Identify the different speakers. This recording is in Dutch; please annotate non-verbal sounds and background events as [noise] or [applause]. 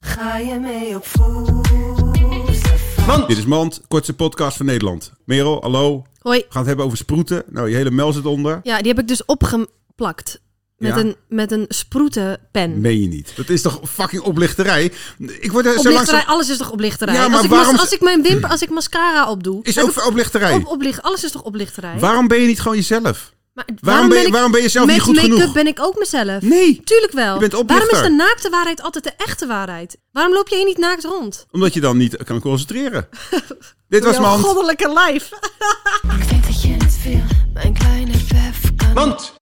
Speaker 1: Ga je mee op voetstap?
Speaker 2: Mand! Dit is Mand, kortste podcast van Nederland. Merel, hallo. We
Speaker 3: Hoi.
Speaker 2: gaan het hebben over sproeten. Nou, je hele mel zit onder.
Speaker 3: Ja, die heb ik dus opgeplakt. Met,
Speaker 2: Ja.
Speaker 3: een, met een sproetenpen.
Speaker 2: Meen je niet. Dat is toch fucking oplichterij? Ik word er zo
Speaker 3: Oplichterij,
Speaker 2: langzaam...
Speaker 3: alles is toch oplichterij?
Speaker 2: Ja, maar
Speaker 3: als, ik
Speaker 2: waarom-
Speaker 3: mas- als ik mijn wimper, als ik mascara opdoe...
Speaker 2: Is
Speaker 3: dan
Speaker 2: ook
Speaker 3: heb
Speaker 2: voor oplichterij.
Speaker 3: ik op, oplicht, alles is toch oplichterij?
Speaker 2: Waarom ben je niet gewoon jezelf?
Speaker 3: Maar
Speaker 2: waarom ben je-
Speaker 3: ik-
Speaker 2: waarom ben je zelf
Speaker 3: met
Speaker 2: niet goed
Speaker 3: make-up
Speaker 2: genoeg?
Speaker 3: ben ik ook mezelf.
Speaker 2: Nee.
Speaker 3: Tuurlijk wel.
Speaker 2: Je bent oplichter.
Speaker 3: waarom is de naakte waarheid altijd de echte waarheid? Waarom loop je hier niet naakt rond?
Speaker 2: Omdat je dan niet kan
Speaker 3: [laughs]
Speaker 2: concentreren. Dit was
Speaker 3: Jouw
Speaker 2: Mand.
Speaker 3: goddelijke lijf.
Speaker 1: Ik weet dat je het wil, mijn kleine pef kan
Speaker 2: Mand!